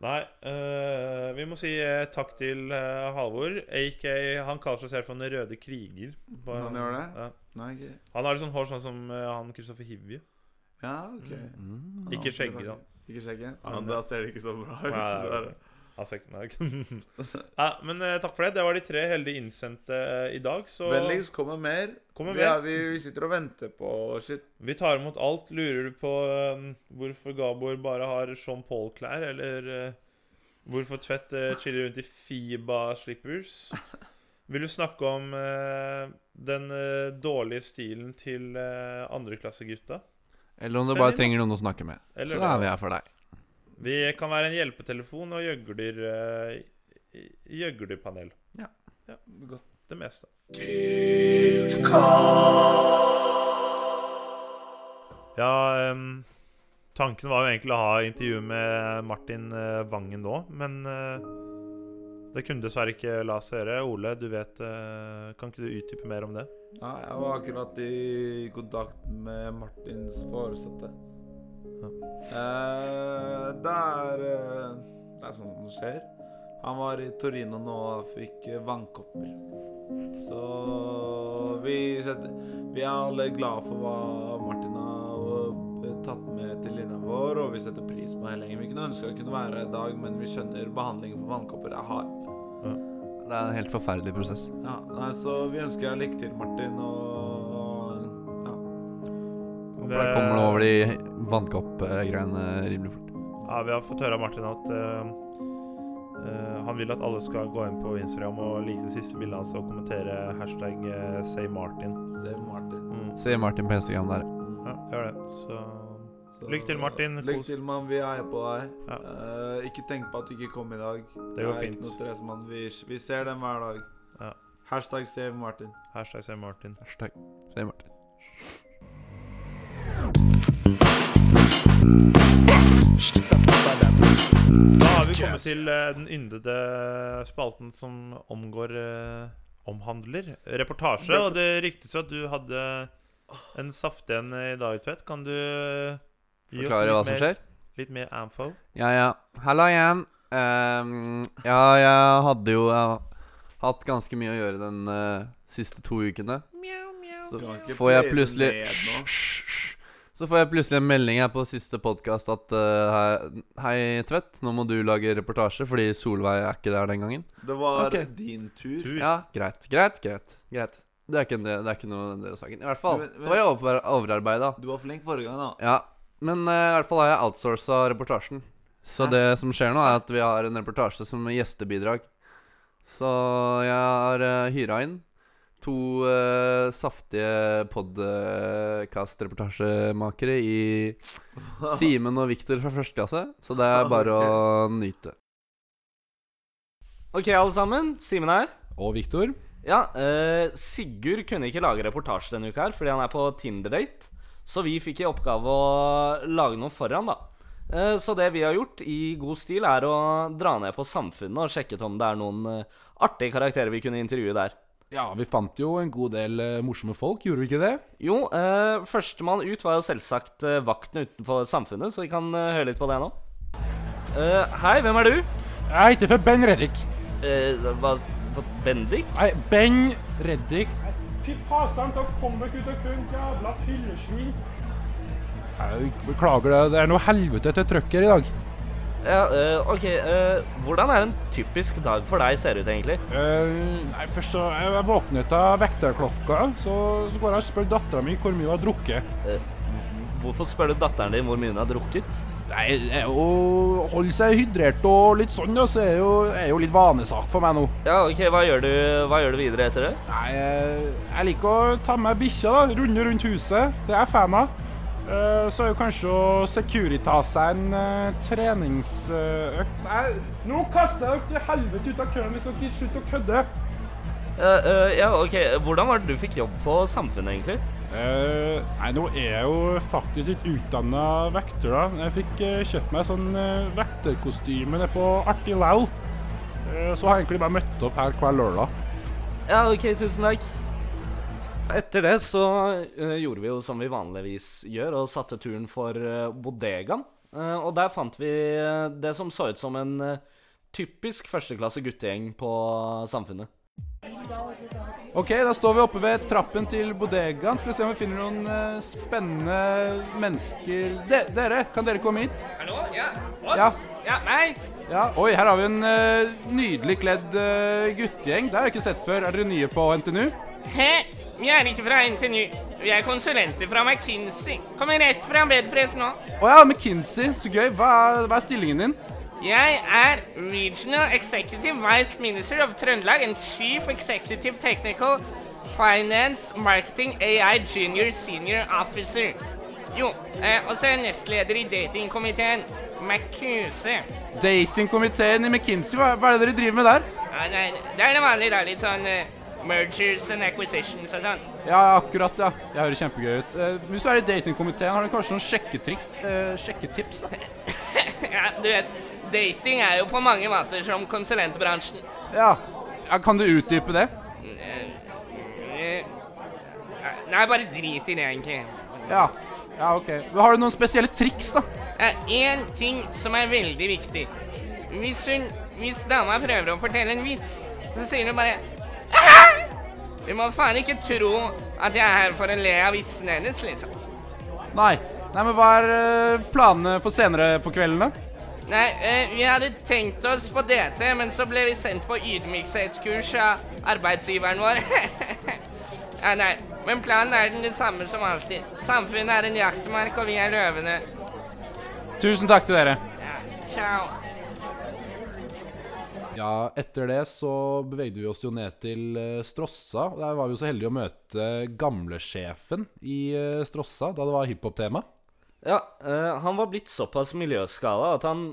Nei, eh, vi må si eh, takk til eh, Halvor. A.k.a. Han kaller seg selv for Den røde kriger. På- Han gjør det? Ja. Nei, ikke. Han har litt sånn hår sånn som eh, han Kristoffer Hivje. Ja, OK. Mm. Ikke skjegget, da. Ikke skjegget? Ja, Ja, men da ser det ikke så bra Nei, ut. så det er er det. Altså, ikke- nei, ikke- ja, men eh, takk for det. Det var de tre heldige innsendte eh, i dag. Så Vennligst kommer mer. kommer vi, er, mer. vi, vi sitter og venter på shit. Vi tar imot alt. Lurer du på eh, hvorfor Gabor bare har Jean Paul-klær, eller eh, hvorfor Tvedt eh, chiller rundt i Fiba-slippers? Vil du snakke om eh, den eh, dårlige stilen til eh, andreklassegutta? Eller om du Send bare inn, da. trenger noen å snakke med. Eller Så da er vi her for deg. Vi kan være en hjelpetelefon og gjøgler eh, gjøglerpanel. Ja. ja. Godt. Det meste. Ja, em, tanken var jo egentlig å ha intervju med Martin eh, Vangen nå, men eh, det kunne dessverre ikke la seg gjøre. Ole, du vet eh, Kan ikke du utdype mer om det? Ja, jeg var akkurat i kontakt med Martins foresatte. Ja. Eh, det er eh, Det er sånt som skjer. Han var i Torino nå og fikk eh, vannkopper. Så vi setter Vi er alle glade for hva Martin har eh, tatt med til linja vår, og vi setter pris på hele gjengen. Vi kunne ønske å kunne være her i dag, men vi skjønner behandlingen for vannkopper er hard. Det er en helt forferdelig prosess. Ja, nei, så vi ønsker deg lykke til, Martin, og ja. For da kommer du over de vannkoppgreiene rimelig fort. Ja, vi har fått høre av Martin at eh, eh, han vil at alle skal gå inn på Instagram og like det siste bildet hans og kommentere hashtag eh, say Martin. Se Martin. Mm. Se Martin på Instagram der. Ja, gjør det. Så Så, eh, Lykke til, Martin. Lykke Kos- til, mann. Vi heier på deg. Ja. Eh, ikke tenk på at du ikke kom i dag. Det går er fint. Ikke noe stress, mann. Vi, vi ser dem hver dag. Ja. Hashtag save Martin. hashtag say Martin. Hashtag. Se Martin. Da har vi kommet til eh, den yndede spalten som omgår eh, omhandler reportasje. Og det ryktes jo at du hadde en saftig en i dag, Tvedt. Kan du eh, gi oss Forklare litt hva som mer- skjer. Litt mer info? Ja, ja. Hallo igjen. Ehm, ja, jeg hadde jo eh, hatt ganske mye å gjøre den eh, siste to ukene. Så Du kan ikke får jeg play det plutselig ned nå. Hysj, hysj. Så får jeg plutselig en melding her på siste podkast at eh, Hei, hei, Tvedt, nå må du lage reportasje fordi Solveig er ikke der den gangen. Det var Ok. din tur. Tur. Ja, greit, greit, greit. greit Det er ikke, en del- det er ikke noe del av saken. I hvert fall. Men- men- Så var jeg over- overarbeida. Du var flink forrige gang, da. Ja, men eh, i hvert fall har jeg outsourca reportasjen. Så Hæ? det som skjer nå, er at vi har en reportasje som gjestebidrag. Så jeg har uh, hyra eh, inn To eh, saftige podkast-reportasjemakere i Simen og Viktor fra første klasse. Så det er bare å nyte. Ok, alle sammen. Simen her. Og Viktor. Ja, eh, Sigurd kunne ikke lage reportasje denne uka her fordi han er på Tinder-date. Så vi fikk i oppgave å lage noe for han, da. Eh, så det vi har gjort, i god stil, er å dra ned på Samfunnet og sjekket om det er noen eh, artige karakterer vi kunne intervjue der. Ja, vi fant jo en god del eh, morsomme folk, gjorde vi ikke det? Jo, eh, førstemann ut var jo selvsagt eh, vaktene utenfor Samfunnet, så vi kan eh, høre litt på det nå. Eh, hei, hvem er du? Jeg heter for Ben Reddik. Eh, hva, hva Bendik? Nei, Ben Reddik. Fy fasan, da kom dere ut av køen, jævla pillesvin. Beklager det, det er noe helvete til trøkker i dag. Ja, eh, ok. eh, hvordan er en typisk dag for deg ser ut, egentlig? Eh, nei, først så jeg jeg våknet av vekterklokka, så, så går jeg og spør dattera mi hvor mye hun har drukket. Hvorfor spør du datteren din hvor mye hun har drukket? Nei, det er jo holde seg hydrert og litt sånn, da, så er jo, er jo litt vanesak for meg nå. Ja, ok, hva gjør du, hva gjør du videre etter det? Nei, eh, jeg liker å ta med bikkja, da. Runde rundt huset. Det er jeg fan av. Eh, Så er jo kanskje å Securitas seg en eh, treningsøkt Nei, nå kaster jeg dere til helvete ut av køen hvis dere ikke slutter å kødde! Ja, eh, ja, ok, hvordan var det du fikk jobb på samfunnet, egentlig? Eh, nei, nå er jeg jo faktisk ikke utdanna vekter, da. Jeg fikk eh, kjøpt meg sånn eh, vekterkostyme nede på Artig Lau. Eh, så har jeg egentlig bare møtt opp her hver lørdag. Ja, ok, tusen takk. Etter det så eh, gjorde vi jo som vi vanligvis gjør, og satte turen for eh, bodegaen. Eh, og der fant vi eh, det som så ut som en eh, typisk førsteklasse guttegjeng på samfunnet. Ok, da står vi oppe ved trappen til bodegaen. Skal vi se om vi finner noen eh, spennende mennesker de Dere, kan dere komme hit? Hallo? Ja, Ja. Ja, meg? Ja. Oi, her har vi en eh, nydelig kledd eh, guttegjeng. Det har jeg ikke sett før. Er dere nye på NTNU? Hæ? Vi er ikke fra NTNU. Vi er konsulenter fra McKinsey. Kommer rett fra bedpress nå. Å ja, McKinsey. Så gøy. Hva er, hva er stillingen din? Jeg er Regional Executive Vice Minister of Trøndelag and Chief Executive Technical Finance Marketing AI Junior Senior Officer. Jo, eh, og så er jeg nestleder i datingkomiteen, McKuse. Datingkomiteen i McKinsey, hva, hva er det dere driver med der? Ja, nei, det er det vanlige, da. Litt sånn eh, mergers and acquisitions og sånn. Ja, akkurat, ja. Jeg hører kjempegøy ut. Eh, hvis du er i datingkomiteen, har dere kanskje noen sjekketrikk, eh, sjekketips? Da? Ja, du vet, dating er jo på mange måter som konsulentbransjen. Ja. ja. Kan du utdype det? Eh, Nei, bare drit i det, egentlig. Ja. Ja, ok. Har du noen spesielle triks, da? Det er én Eh, ting som er veldig viktig. Hvis hun Hvis dama prøver å fortelle en vits, så sier hun bare «Ah! Du må faen ikke tro at jeg er her for å le av vitsen hennes, liksom. Nei. Nei, men Hva er eh, planene for senere på kvelden, da? Nei, eh, vi hadde tenkt oss på DT, men så ble vi sendt på ydmykhetskurs av arbeidsgiveren vår. ja, nei, men planen er den samme som alltid. Samfunnet er en jaktmark, og vi er løvene. Tusen takk til dere. Ja, ciao. Ja, etter det så bevegde vi oss jo ned til eh, Strossa. Der var vi jo så heldige å møte gamlesjefen i eh, Strossa, da det var hiphop-tema. Ja, eh, han var blitt såpass miljøskada at han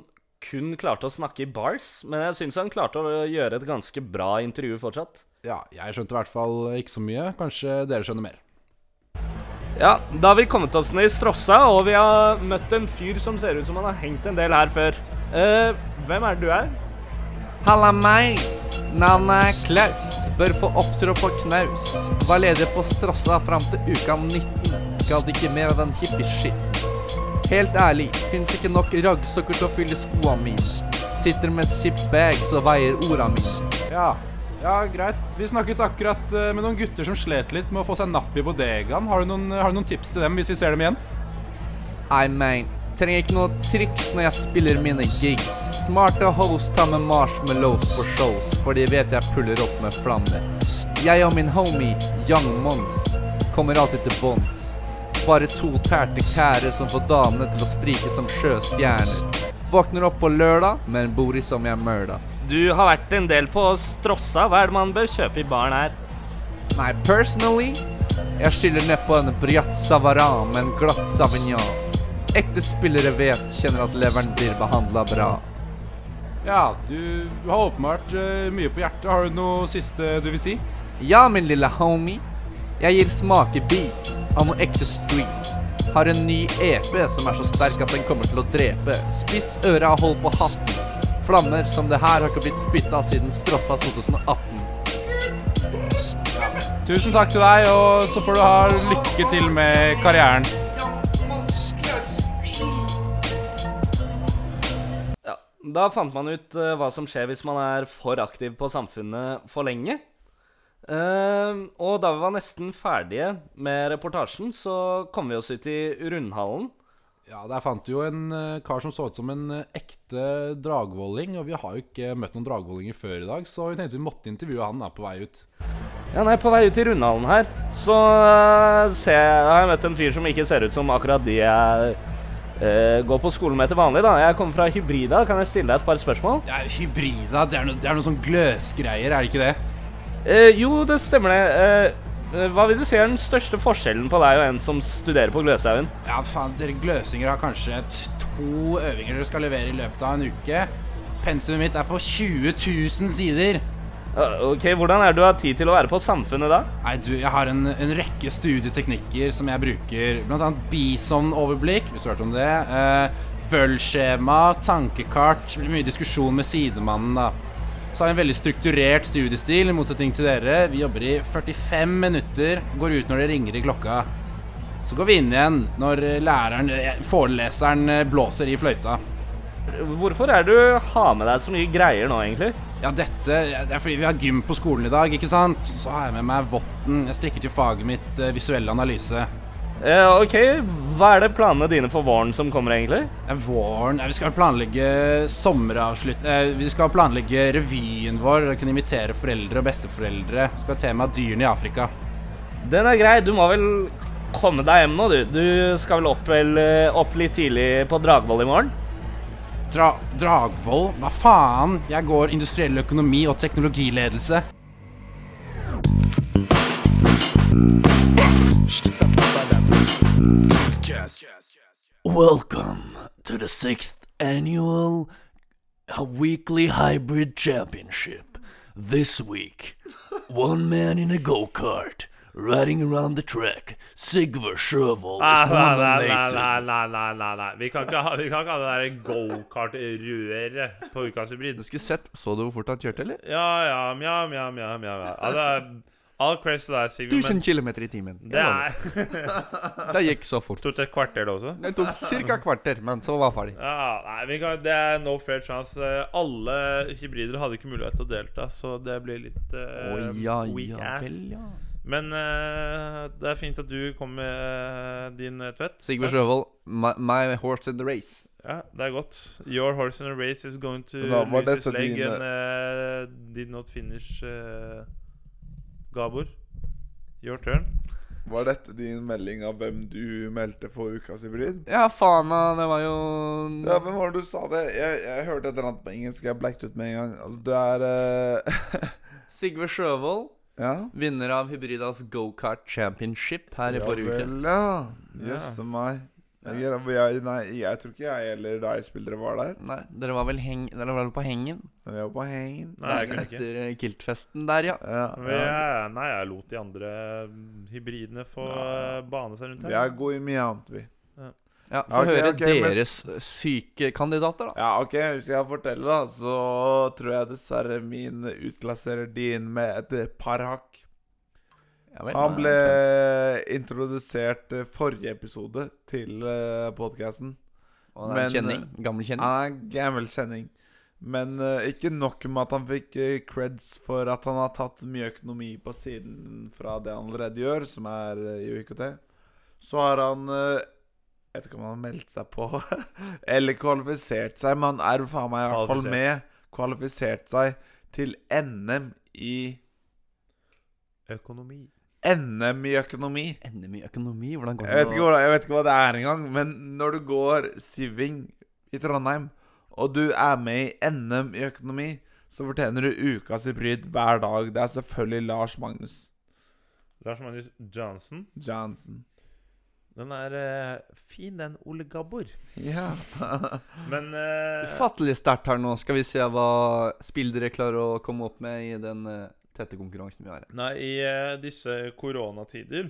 kun klarte å snakke i bars, men jeg syns han klarte å gjøre et ganske bra intervju fortsatt. Ja, jeg skjønte i hvert fall ikke så mye. Kanskje dere skjønner mer. Ja, da har vi kommet oss ned i Strossa, og vi har møtt en fyr som ser ut som han har hengt en del her før. Eh, hvem er det du er? Halla meg. Navnet er Klaus. Bør få opptrå på knaus. Var leder på Strossa fram til uka 19. Gadd ikke mer av den hippie-shit. Helt ærlig, fins ikke nok raggsokker til å fylle skoa mine. Sitter med zip-bags og veier orda mine. Ja, ja greit. Vi snakket akkurat eh, med noen gutter som slet litt med å få seg napp i bodegaen. Har du noen, eh, har du noen tips til dem hvis vi ser dem igjen? I mean, trenger ikke noe triks når jeg spiller mine gigs. Smarte hoes tar med marshmallows på shows, for de vet jeg puller opp med flammer. Jeg og min homie Young Mons kommer alltid til bånds. Bare to tærte kærer som får damene til å sprike som sjøstjerner. Våkner opp på lørdag, men bor i som jeg mørda. Du har vært en del på Strossa. Hva er det man bør kjøpe i baren her? Nei, personally Jeg skyller nedpå en Briat Savaran med en glatt Savignon. Ekte spillere vet, kjenner at leveren blir behandla bra. Ja, du, du har åpenbart eh, mye på hjertet. Har du noe siste du vil si? Ja, min lille homie. Jeg gir smakebit av noe ekte street. Har en ny EP som er så sterk at den kommer til å drepe. Spiss øra og hold på hatten. Flammer som det her har ikke blitt spytta siden Strossa 2018. Tusen takk til deg, og så får du ha lykke til med karrieren. Ja, da fant man ut eh, hva som skjer hvis man er for aktiv på samfunnet for lenge. Eh, og da vi var nesten ferdige med reportasjen, så kom vi oss ut i rundhallen. Ja, Der fant du jo en eh, kar som så ut som en eh, ekte dragvolling. Og vi har jo ikke møtt noen dragvollinger før i dag, så vi tenkte vi måtte intervjue han da på vei ut. Ja, nei, På vei ut i rundhallen her så eh, ser jeg, har jeg møtt en fyr som ikke ser ut som akkurat de jeg eh, går på skolen med til vanlig. da. Jeg kommer fra Hybrida. Kan jeg stille deg et par spørsmål? Ja, Hybrida, det er noe, sånn gløsgreier, er det ikke det? Eh, jo, det stemmer det. Eh, eh, hva vil du si er den største forskjellen på deg og en som studerer på Gløshaugen? Ja, faen, dere gløsinger har kanskje to øvinger dere skal levere i løpet av en uke. Pensumet mitt er på 20 000 sider. Eh, ok, Hvordan er det du har tid til å være på Samfunnet da? Nei, du, jeg har en, en rekke studieteknikker som jeg bruker. Blant annet Bison-overblikk, hvis du har hørt om det. Eh, Bøll-skjema, tankekart. Det blir mye diskusjon med sidemannen, da. Så har jeg en veldig strukturert studiestil, i motsetning til dere. Vi jobber i 45 minutter, går ut når det ringer i klokka. Så går vi inn igjen når eh, læreren, eh, foreleseren eh, blåser i fløyta. Hvorfor er det du har med deg så mye greier nå, egentlig? Ja, dette det er fordi vi har gym på skolen i dag, ikke sant? Så har jeg med meg votten. Jeg strikker til faget mitt eh, visuell analyse. Eh, ok, hva er det planene dine for våren som kommer, egentlig? Det er våren Nei, Vi skal planlegge sommeravslutt... Eh, vi skal planlegge revyen vår og kunne invitere foreldre og besteforeldre. Vi skal ha tema dyrene i Afrika. Den er grei. Du må vel komme deg hjem nå, du. Du skal vel opp, vel, eh, opp litt tidlig på Dragvoll i morgen? Dra Dragvoll? Hva faen? Jeg går industriell økonomi og teknologiledelse. Welcome to the sixth annual uh, weekly hybrid championship. This week, one man in a go kart riding around the track, Sigvar Sjövold Nei, nei, is nei, nei, nominated. nei, nei, nei, nei, nei. Vi kan ikke ha, vi kan ikke ha det der gokart-røret på ukas hybrid. Du skulle sett Så du hvor fort han kjørte, eller? Ja, ja, mja, mja, mja, mja. mja. Ja, det er all crazy til deg, Sigurd, 1000 men km i timen. det er Det gikk så fort. stort sett kvarter, det også. Det tok ca. kvarter, men så var ferdig. Ja, nei, vi kan, det er no fair chance. Eh, Alle hybrider hadde ikke mulighet til å delta, så det blir litt eh, Å ja, weak ja ass. vel, ja. Men eh, det er fint at du kom med eh, din eh, tvett. Sigvard Sjøvold, my, my horse in the race. Ja, det er godt. Your horse in a race is going to Da var lose his dette leg dine- and eh, did not finish eh, Gabor. Your turn. Var dette din melding av hvem du meldte for ukas hybrid? Ja, faen, da. Det var jo Ja, hvem var det du sa det? Jeg, jeg hørte et eller annet på engelsk. Jeg blacked ut med en gang. Altså, det er eh, Sigve Sjøvold, Ja. vinner av Hybridas gokart championship her i Ja forrige uke. vel, ja. Jøsse meg. Jeg, jeg, nei, jeg tror ikke jeg eller deg spillere var der. Nei, dere var vel, heng, dere var vel på hengen Men Vi var på hengen. Nei, jeg kunne ikke. etter eh, Kiltfesten der, ja. Ja, Men ja. jeg, nei, jeg lot de andre eh, hybridene få eh, bane seg rundt Vi er gode i mye annet, vi. ja Få Ok, høre ok, men- deres syke kandidater, da. Ja, ok, hvis jeg forteller da, så tror jeg dessverre min utklasserer din med et par hakk. Ja vel, Han nei, ble jeg er spent. introdusert eh, forrige episode til eh, podkasten. Og han er en men- eh, kjenning. Gammel kjenning. Han er en gammel kjenning. Men eh, ikke nok med at han fikk eh, creds for at han har tatt mye økonomi på siden fra det han allerede gjør, som er eh, i IKT. Så har han eh, Jeg vet ikke om han har meldt seg på eller kvalifisert seg, men han er faen meg i hvert fall Kvalifisert. med. Kvalifisert seg til NM i Økonomi. NM i økonomi. NM i økonomi, hvordan går Jeg vet, det? ikke nå? hva, jeg vet ikke hva det er engang, men når du går siving i Trondheim, og du er med i NM i økonomi, så fortjener du ukas hybrid hver dag. Det er selvfølgelig Lars Magnus. Lars Magnus Johnson. Johnson. Den er eh, fin, den Ole Gabbor. Ja. Men eh, Ufattelig sterkt her nå. Skal vi se hva spill dere klarer å komme opp med i den eh, tette konkurransen vi har her. Nei, i eh, disse koronatider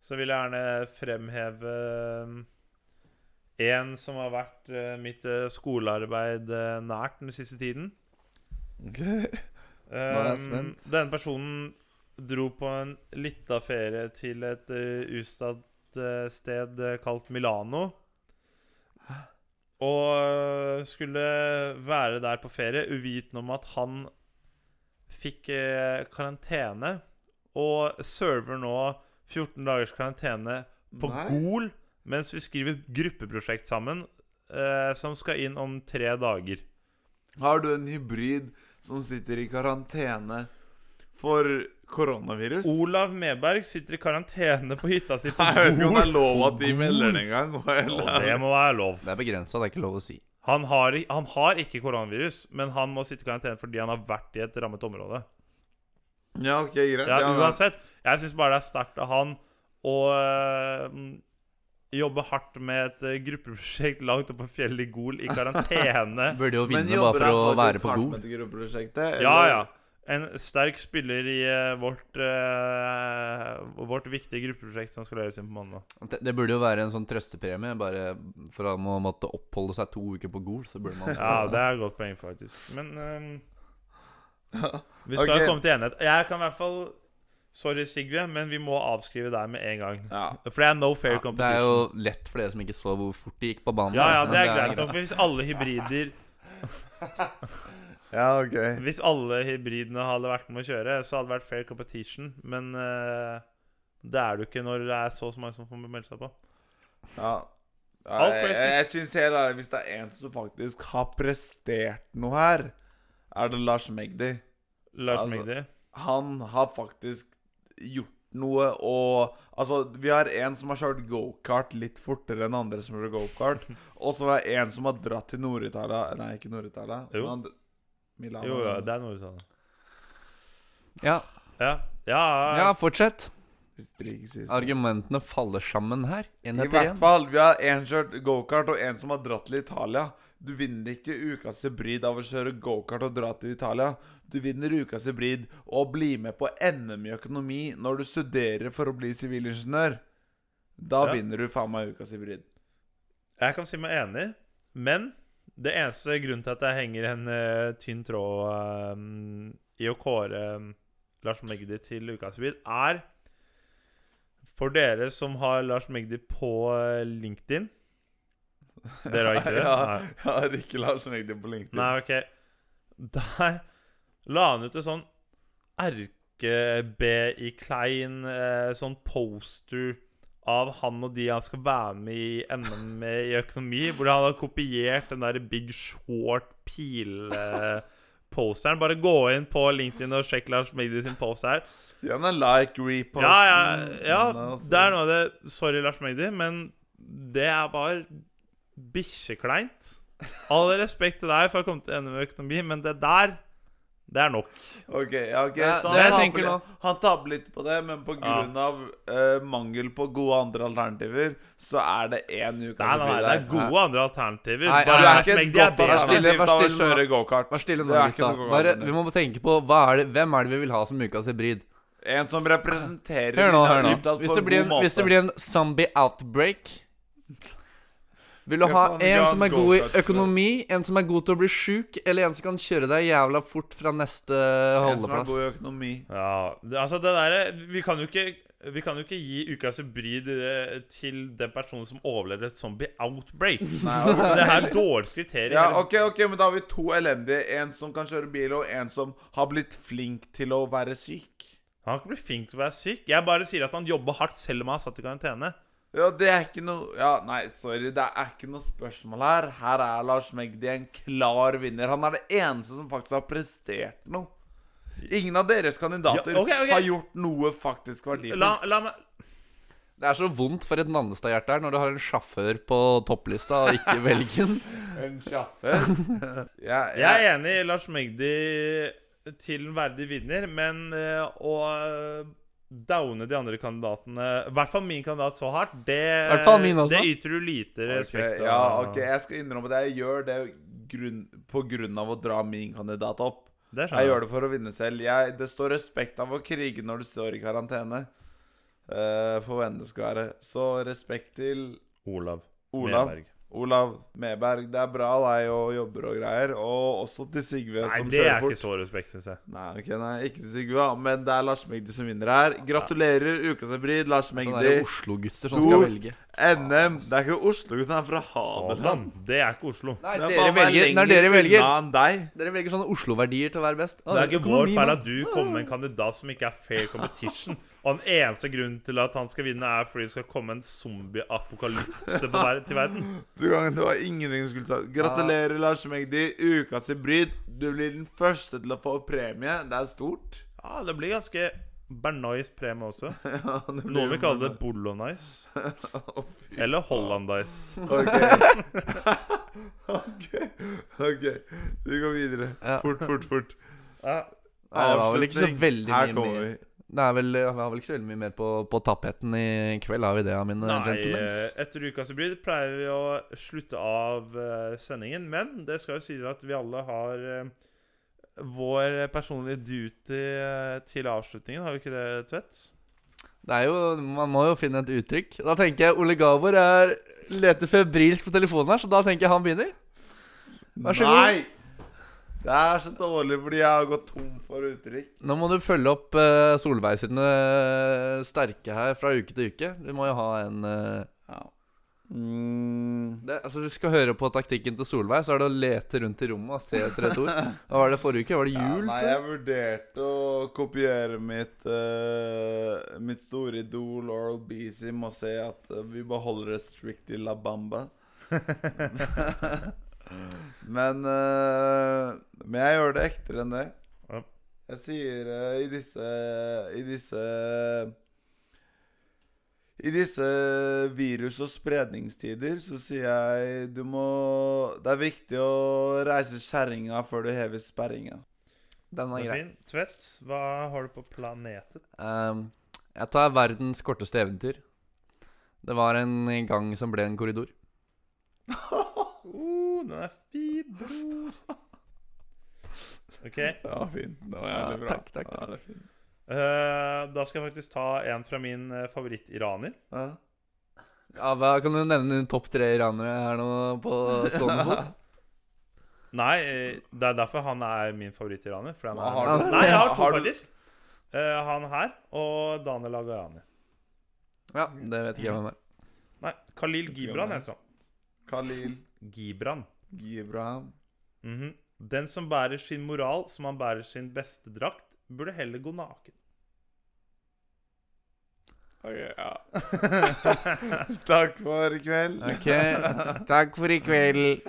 så vil jeg gjerne fremheve eh, en som har vært eh, mitt eh, skolearbeid eh, nært den siste tiden. Nå er jeg Um, spent. Denne personen dro på en lita ferie til et uh, ustadt eh, sted eh, kalt Milano. Og eh, skulle være der på ferie uvitende om at han fikk eh, karantene. Og server nå 14 dagers karantene på Nei. Gol mens vi skriver gruppeprosjekt sammen, eh, som skal inn om tre dager. Har du en hybrid som sitter i karantene for koronavirus? Olav Medberg sitter i karantene på hytta si på Jeg vet ikke om Gol. det er lov at vi melder det engang. Og det må være lov. Det er begrensa, det er ikke lov å si. Han har, i- han har ikke koronavirus, men han må sitte i karantene fordi han har vært i et rammet område. Ja, ok, greit. Ja, Ja, men- uansett, jeg syns bare det er sterkt av han å øh, jobbe hardt med et øh, gruppeprosjekt langt oppe på fjellet i Gol i karantene. Burde jo Men vinne bare for jobber å han være faktisk på hardt god. med dette gruppeprosjektet? Ja, eller? ja. En sterk spiller i øh, vårt, øh, vårt viktige gruppeprosjekt som skal gjøres inn på mandag. Det, det burde jo være en sånn trøstepremie, bare for han må måtte oppholde seg to uker på Gol, så burde man Ja, det er et godt poeng, faktisk. Men øhm, vi skal Ok. jo komme til enighet. Jeg kan i hvert fall Sorry, Sigve, men vi må avskrive deg med en gang. Ja. For det er no fair Ja, det er competition. jo lett for dere som ikke så hvor fort de gikk på banen. Ja, ja, men det er greit nok. men Hvis alle hybrider ja, ok. Hvis alle hybridene hadde vært med å kjøre, så hadde det vært fair competition. Men eh, det er det jo ikke når det er så mange som får melde seg på. Ja. Ja, Alt jeg jeg, praises. jeg syns helt ærlig, hvis det er en som faktisk har prestert noe her, er det Lars Magdi. Lars Altså- Magdi. Han har faktisk gjort noe og Altså, vi har en som har kjørt gokart litt fortere enn andre som kjører gokart, og så er det en som har dratt til Nord-Italia Nei, ikke Nord-Italia. Jo. men han- Milano. Jo, ja, det er noe du sa. Ja. Ja. Ja, ja, fortsett. Hvis det ikke sies. Argumentene faller sammen her. En I etter hvert en. fall, vi har en kjørt gokart og en som har dratt til Italia. Du vinner ikke ukas hybrid av å kjøre gokart og dra til Italia. Du vinner ukas hybrid og bli med på NM i økonomi når du studerer for å bli sivilingeniør. Da Ja. vinner du faen meg ukas hybrid. Jeg kan si meg enig, men det eneste grunnen til at jeg henger en eh, tynn tråd eh, i å kåre eh, Lars Magdi til ukas hybrid, er for dere som har Lars Magdi på eh, LinkedIn Dere har ikke det? Ja. Nei. Jeg har ikke Lars Magdi på LinkedIn. Nei, ok. Der la han ut en sånn erke-B.I. Klein, eh, sånn poster av han og de han skal være med i NM med i økonomi, hvor han har kopiert den der Big Short pile-posteren. Bare gå inn på LinkedIn og sjekk Lars Magdi sin post her. Gi han en like, repost Mm, altså. Ja, ja, ja det er noe av det Sorry, Lars Magdi, men det er bare bikkjekleint. All respekt til deg for å komme til NM i økonomi, men det der, det er nok. Ok, ja, ok Det- Så det han jeg taper, tenker nå. litt, han taper litt på det, men på Ja. grunn av eh, mangel på gode andre alternativer, så er det én ukas Nei, nei, nei, det er der. gode andre alternativer. Nei, Bare du er Lars ikke et Magdi er godt bedre. alternativ. alternativ Vær til å stille nå. kjøre gokart. Vær stille nå, Det er ikke gutta. noe Bare, galt med vi må tenke på hva er det, hvem er det vi vil ha som ukas hybrid. En som representerer Hør nå, Milano hør nå. utad på Hvis det en blir en, god måte. hvis det blir en zombie outbreak Vil du Skal ha faen ikke en ha som en er god i go-kart. økonomi, en som er god til å bli sjuk, eller en som kan kjøre deg jævla fort fra neste En som er holdeplass? god i økonomi. Ja, det, altså det der, vi, kan jo ikke, vi kan jo ikke gi ukas hybrid eh, til den personen som overlevde et zombie outbreak. Det her er dårlig kriterium. altså, Ja, ok, ok, men da har vi to elendige. En som kan kjøre bil, og en som har blitt flink til å være syk. Han har ikke blitt flink til å være syk. Jeg bare sier at han jobber hardt selv om han er satt i karantene. Ja, det er ikke noe Ja, nei, sorry. Det er ikke noe spørsmål her. Her er Lars Magdi en klar vinner. Han er det eneste som faktisk har prestert noe. Ingen av deres kandidater Ja, ok, ok. har gjort noe faktisk verdifullt. La, la meg Det er så vondt for et Nannestad-hjerte her når du har en sjåfør på topplista og ikke velger Sånn den. En sjåfør? ja, ja. Jeg er enig i Lars Magdi til en verdig vinner, men eh, å downe de andre kandidatene, i hvert fall min kandidat, så hardt, det, hvert fall min også. det yter du lite respekt Ok, ja, ok, jeg skal innrømme det. Jeg gjør det grunn, på grunn av å dra min kandidat opp. Det skjønner Jeg gjør det for å vinne selv. Jeg, det står respekt av å krige når du står i karantene. Eh, for hvem det skal være. Så respekt til Olav. Olav. Medberg. Olav Medberg. Det er bra deg og jobber og greier. Og også til Sigve, Nei, som det kjører er fort. ikke så respekt, syns jeg. Nei, ok, nei, ikke til Sigve, da, men det er Lars Magdi som vinner her. Gratulerer, ukas hybrid. Lars Sånn Magdi. er Oslo-gutter som skal Stor. velge. NM. Det er ikke Oslo, gutten, han er fra Hadeland. Hadeland, det er ikke Oslo. Nei, Men dere hva er velger, når lenger dere velger, unna enn deg. dere velger sånne Oslo-verdier til å være best. Å, Det er ikke vår økonomi, feil mann. at du kommer med en kandidat som ikke er fair competition. Og den eneste grunnen til at han skal vinne, er fordi det skal komme en zombieapokalypse på ver- til verden. Du kan, det var ingenting du skulle sagt. Gratulerer, Lars Magdi. Ukas hybrid. Du blir den første til å få premie. Det er stort. Ja, det blir ganske Bernais premie også. Ja, det blir Noen vil jo kalle det bra. Bolonais. Eller Hollandais. Ok. ok. Ok. Vi går videre. Ja. Fort, fort, fort. Nei, det var vel ikke så Avslutning. veldig Her mye kommer mer. vi. Det er vel, vi har vel ikke så veldig mye mer på, på tapetten i kveld, har vi det, mine Nei, gentlemens? eh, etter ukas hybrid pleier vi å slutte av eh, sendingen. Men det skal jo sies at vi alle har eh, vår personlige duty eh, til avslutningen. Har vi ikke det, Tvedt? Det er jo, Man må jo finne et uttrykk. Da tenker jeg Ole Gabor er, leter febrilsk på telefonen her, så da tenker jeg han begynner. Vær så god. Nei! Det er så dårlig fordi jeg har gått tom for uttrykk. Nå må du følge opp uh, Solveig sine eh, sterke her fra uke til uke. Du må jo ha en eh, det, Altså Du skal høre på taktikken til Solveig, så er det å lete rundt i rommet og se etter et ord. Hva var det forrige uke? Var det Ja, jul? nei, tror jeg? jeg vurderte å kopiere mitt eh, Mitt store idol Oral B sin og si at eh, vi beholder det strict i La Bamba. men, eh, men jeg gjør det ektere enn det. Ja. Jeg sier eh, i disse I disse i disse virus- og spredningstider så sier jeg du må Det er viktig å reise kjerringa før du hever sperringa. Den var Det er grei. fin. Tvedt, hva har du på planetet? Ehm, jeg tar verdens korteste eventyr. Det var en gang som ble en korridor. Uh, den er fin, bror. OK. Det var fint. Det var Ja, jævlig bra. takk, takk, Det var takk. jævlig fint. Eh, da skal jeg faktisk ta en fra min eh, favoritt-iraner. Ja. Ja, hva Kan du nevne dine topp tre iranere her nå på stående fot? Nei, eh, det er derfor han er min favoritt-iraner. fordi han Hva er- har du? Nei, jeg har to, Har du- faktisk. Eh, han her og Daniel Agayani. Ja, det vet ikke jeg hvem er. Nei, Khalil Ikke Gibran hvem det heter han. Khalil Gibran. Gibran. Mhm. Den som bærer sin moral som han bærer sin beste drakt, burde heller gå naken. Ok, ja. takk for i kveld. Ok, takk for i kveld.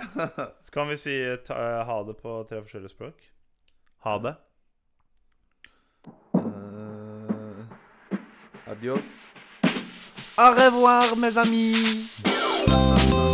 Så kan vi si eh, ta, eh, ha det på tre forskjellige språk. Ha det. Eh, adios. Au revoir, mes amis.